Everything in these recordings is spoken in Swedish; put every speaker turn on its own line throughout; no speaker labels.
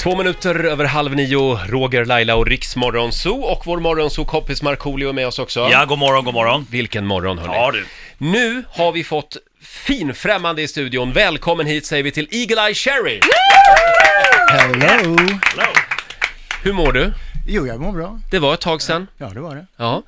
Två minuter över halv nio, Roger, Laila och Riks Morgonzoo och vår Morgonzoo-kompis Markoolio är med oss också.
Ja, god morgon, god morgon.
Vilken morgon hörni.
Ja du.
Nu har vi fått finfrämmande i studion. Välkommen hit säger vi till Eagle-Eye Cherry!
Hello!
Hur mår du?
Jo, jag mår bra.
Det var ett tag sedan.
Ja, det var det.
Ja.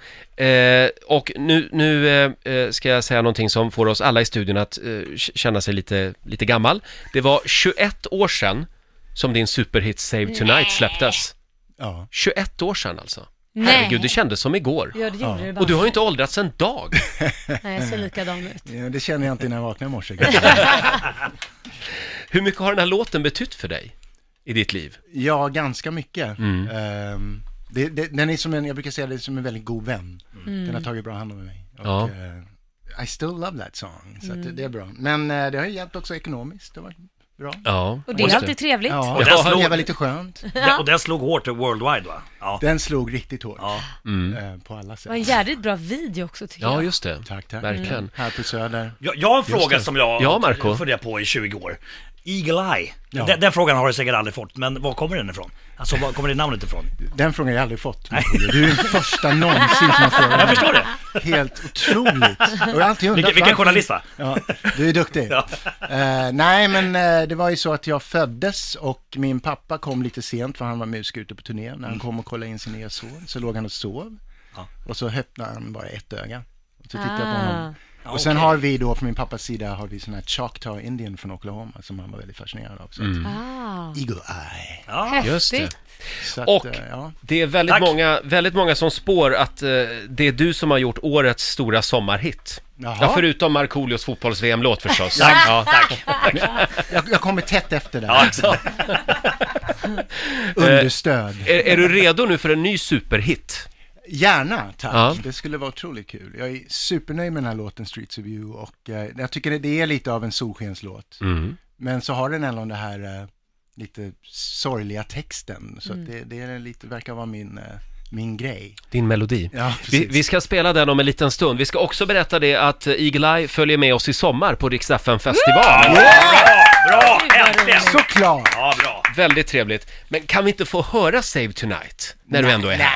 Eh, och nu, nu eh, eh, ska jag säga någonting som får oss alla i studion att eh, k- känna sig lite, lite gammal. Det var 21 år sedan som din superhit Save Tonight släpptes.
Ja.
21 år sedan alltså.
Nej.
Herregud, det kändes som igår.
Ja, det gjorde det bara.
Och du har ju inte åldrats en dag.
Nej, jag ser likadan ut.
Ja, Eh, Det känner jag inte när jag vaknade i morse. kanske.
Hur mycket har den här låten betytt för dig i ditt liv?
ja, ganska mycket. Ehm, det, det, den är som en, jag brukar säga det är som en väldigt god vän. Den har tagit bra hand om mig. Och,
Ja.
eh, I still love that song, så att det, det är bra. Men eh, det har ju hjälpt också ekonomiskt, det har varit bra.
Ja.
Och det är alltid trevligt.
Ja,
Och
och
den
det
slog-
var lite skönt.
Den, och den slog hårt worldwide va? Ja.
Den slog riktigt hårt,
Ja.
eh, på alla
Det var en
sätt.
jävligt bra video också tycker
Ja,
jag. Mm.
just det.
Tack, tack.
Verkligen.
Här på Söder.
Jag, jag har en fråga
det.
som jag
Ja, Marco.
funderat på i 20 år. Eagle Eye.
Ja.
Den, den frågan har du säkert aldrig fått, men var kommer den ifrån? Alltså, var kommer det namnet ifrån?
Den frågan har jag aldrig fått. Du är den första någonsin som har frågat. Jag
Förstår du?
Ah.
Helt otroligt. Och jag har alltid undrat
Vilken, vilken
varför-
journalist va?
Ja, du är duktig.
Ja.
Eh, nej, men eh, det var ju så att jag föddes och min pappa kom lite sent för han var musiker ute på turné. När han kom och kollade in sin nya son så låg han och sov.
Mm. Ja.
Och så öppnade han bara ett öga. Och så tittade jag på
Ah.
honom. Och sen har vi då, från min pappas sida, har vi sån här Choctaw Indian från Oklahoma som han var väldigt fascinerad av. Så att,
Ah,
Eagle Eye.
Mm. Ja.
häftigt.
Just det.
Så att,
Och
eh, ja.
det är väldigt
Tack.
många, väldigt många som spår att eh, det är du som har gjort årets stora sommarhit.
Jaha.
Ja, förutom Markoolios fotbolls-VM-låt förstås.
Tack.
Ja.
Tack.
jag, jag kommer tätt efter där.
Ja, alltså.
Understöd.
Eh,
Är, är du redo nu för en ny superhit?
Gärna, tack.
Ja.
Det skulle vara otroligt kul. Jag är supernöjd med den här låten Streets of You och eh, jag tycker det- det är lite av en solskenslåt.
Mm.
Men så har den ändå den här eh, lite sorgliga texten, så att det, det är lite, verkar vara min, eh, min grej.
Din melodi.
Ja,
vi,
precis.
vi ska spela den om en liten stund. Vi ska också berätta det att Eagle-Eye följer med oss i sommar på Rix FM festival
Bra!
Gud, vad
Äntligen!
roligt.
Såklart!
Ja, bra.
Väldigt trevligt. Men kan vi inte få höra Save Tonight när du ändå är här?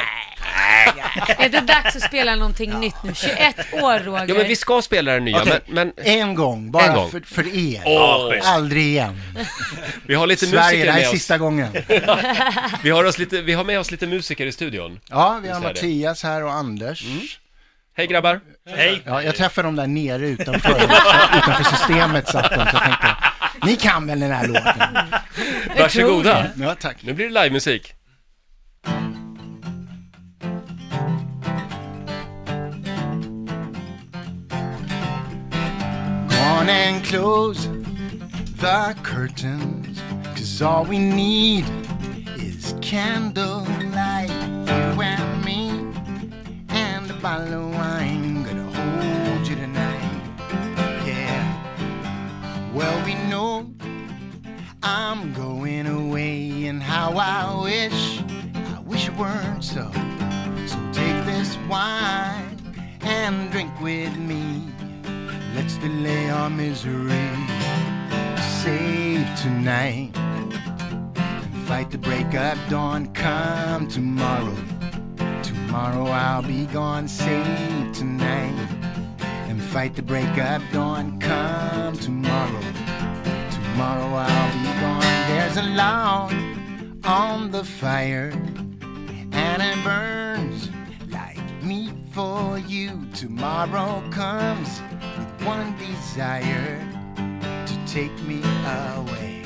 Är det dags att spela någonting nytt nu? 21 år Roger.
Ja, men vi ska spela den nya,
Okej.
men, men
En gång, bara
En gång.
För, för er.
Ja, schysst.
Aldrig igen.
vi har lite
Sverige,
musiker
det här
med
är
oss.
sista gången.
Vi har, oss lite, vi har med oss lite musiker i studion.
Ja, vi
Visst är
har
det. Mm.
Mattias här och Anders.
Hej grabbar!
Hej.
Ja, jag träffade dem där nere utanför, utanför systemet satt de, så jag tänkte, ni kan väl den här låten?
Varsågoda!
Ja, tack.
Nu blir det livemusik.
Gone and close the curtains, cause all we need is candlelight. You and me, and a bottle of wine. Gonna hold you tonight, yeah. Well, we know I'm going away, and how I wish, I wish it weren't so. So take this wine and drink with me. Let's delay our misery. Save tonight. And fight the break of dawn. Come tomorrow. Tomorrow I'll be gone. Save tonight. And fight the break of dawn. Come tomorrow. Tomorrow I'll be gone. There's a log on the fire and it burns like meat for you. Tomorrow comes with one desire to take me away.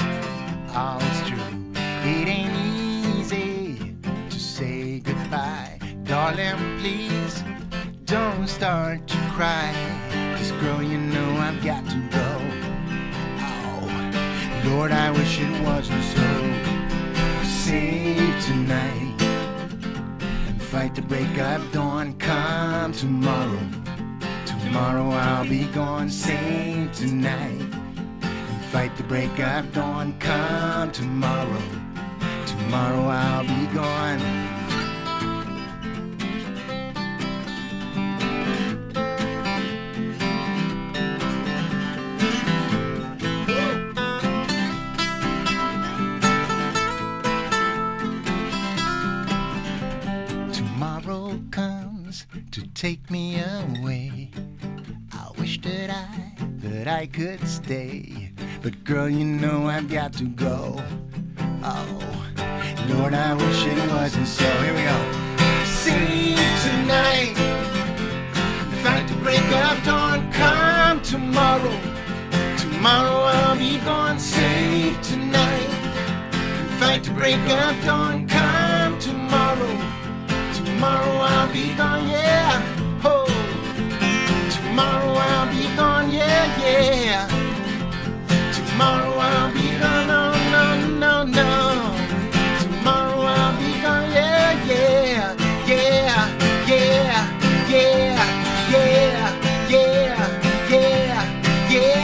All it's true, it ain't easy to say goodbye, darling. Please don't start to cry, 'cause girl, you know I've got to go. Oh, Lord, I wish it wasn't so. Save tonight and fight the break of dawn. Come tomorrow, tomorrow I'll be gone. Save tonight and fight the break of dawn. Come tomorrow, tomorrow I'll be gone. was to take me away. I wish that I that I could stay, but girl, you know I've got to go. Oh, Lord, I wish it wasn't so. Here we go. See you tonight, the fight to break of dawn. Come tomorrow, tomorrow I'll be gone. Save tonight, the fight to break of dawn. Come tomorrow, tomorrow I'll be gone. Yeah, oh. Tomorrow I'll be gone, yeah, yeah. Tomorrow I'll be gone, no, no, no, no. Tomorrow I'll be gone, yeah, yeah, yeah, yeah, yeah, yeah, yeah, yeah, yeah,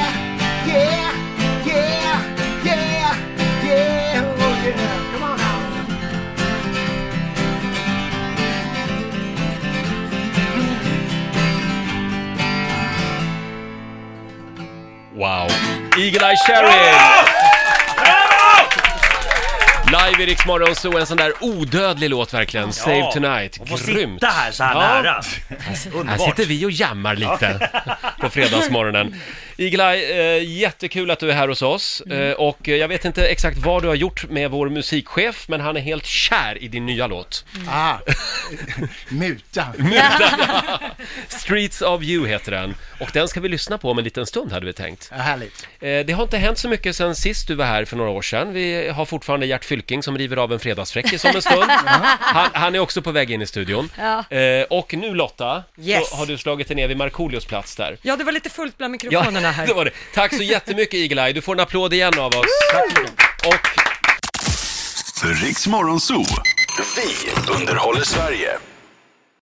yeah, yeah, yeah, yeah, oh yeah. Come on now.
Wow! Eagle-Eye Cherry! Live i Rix Morgon Zoo, en sån där odödlig låt verkligen. Save Tonight.
Och få
Grymt!
sitta här så här
Ja. Alltså,
nära.
Här
Underbart.
sitter vi och jammar lite på fredagsmorgonen. Iglaj, eh, jättekul att du är här hos oss. Eh, och eh, jag vet inte exakt vad du har gjort med vår musikchef, men han är helt kär i din nya låt.
Ah, muta.
Streets of you heter den. Och den ska vi lyssna på om en liten stund hade vi tänkt.
Ja, Härligt.
Eh, det har inte hänt så mycket sen sist du var här för några år sedan. Vi har fortfarande Gert Fylking som river av en fredagsfräckis om en stund. Han, han är också på väg in i studion.
Ja.
Eh, och nu Lotta,
Yes.
så har du slagit dig ner vid Markoolios plats där.
Ja, det var lite fullt bland mikrofonerna här.
det var det. Tack så jättemycket Eagle-Eye. Du får en applåd igen av oss. Och
Riks Morgonzoo. Vi underhåller Sverige.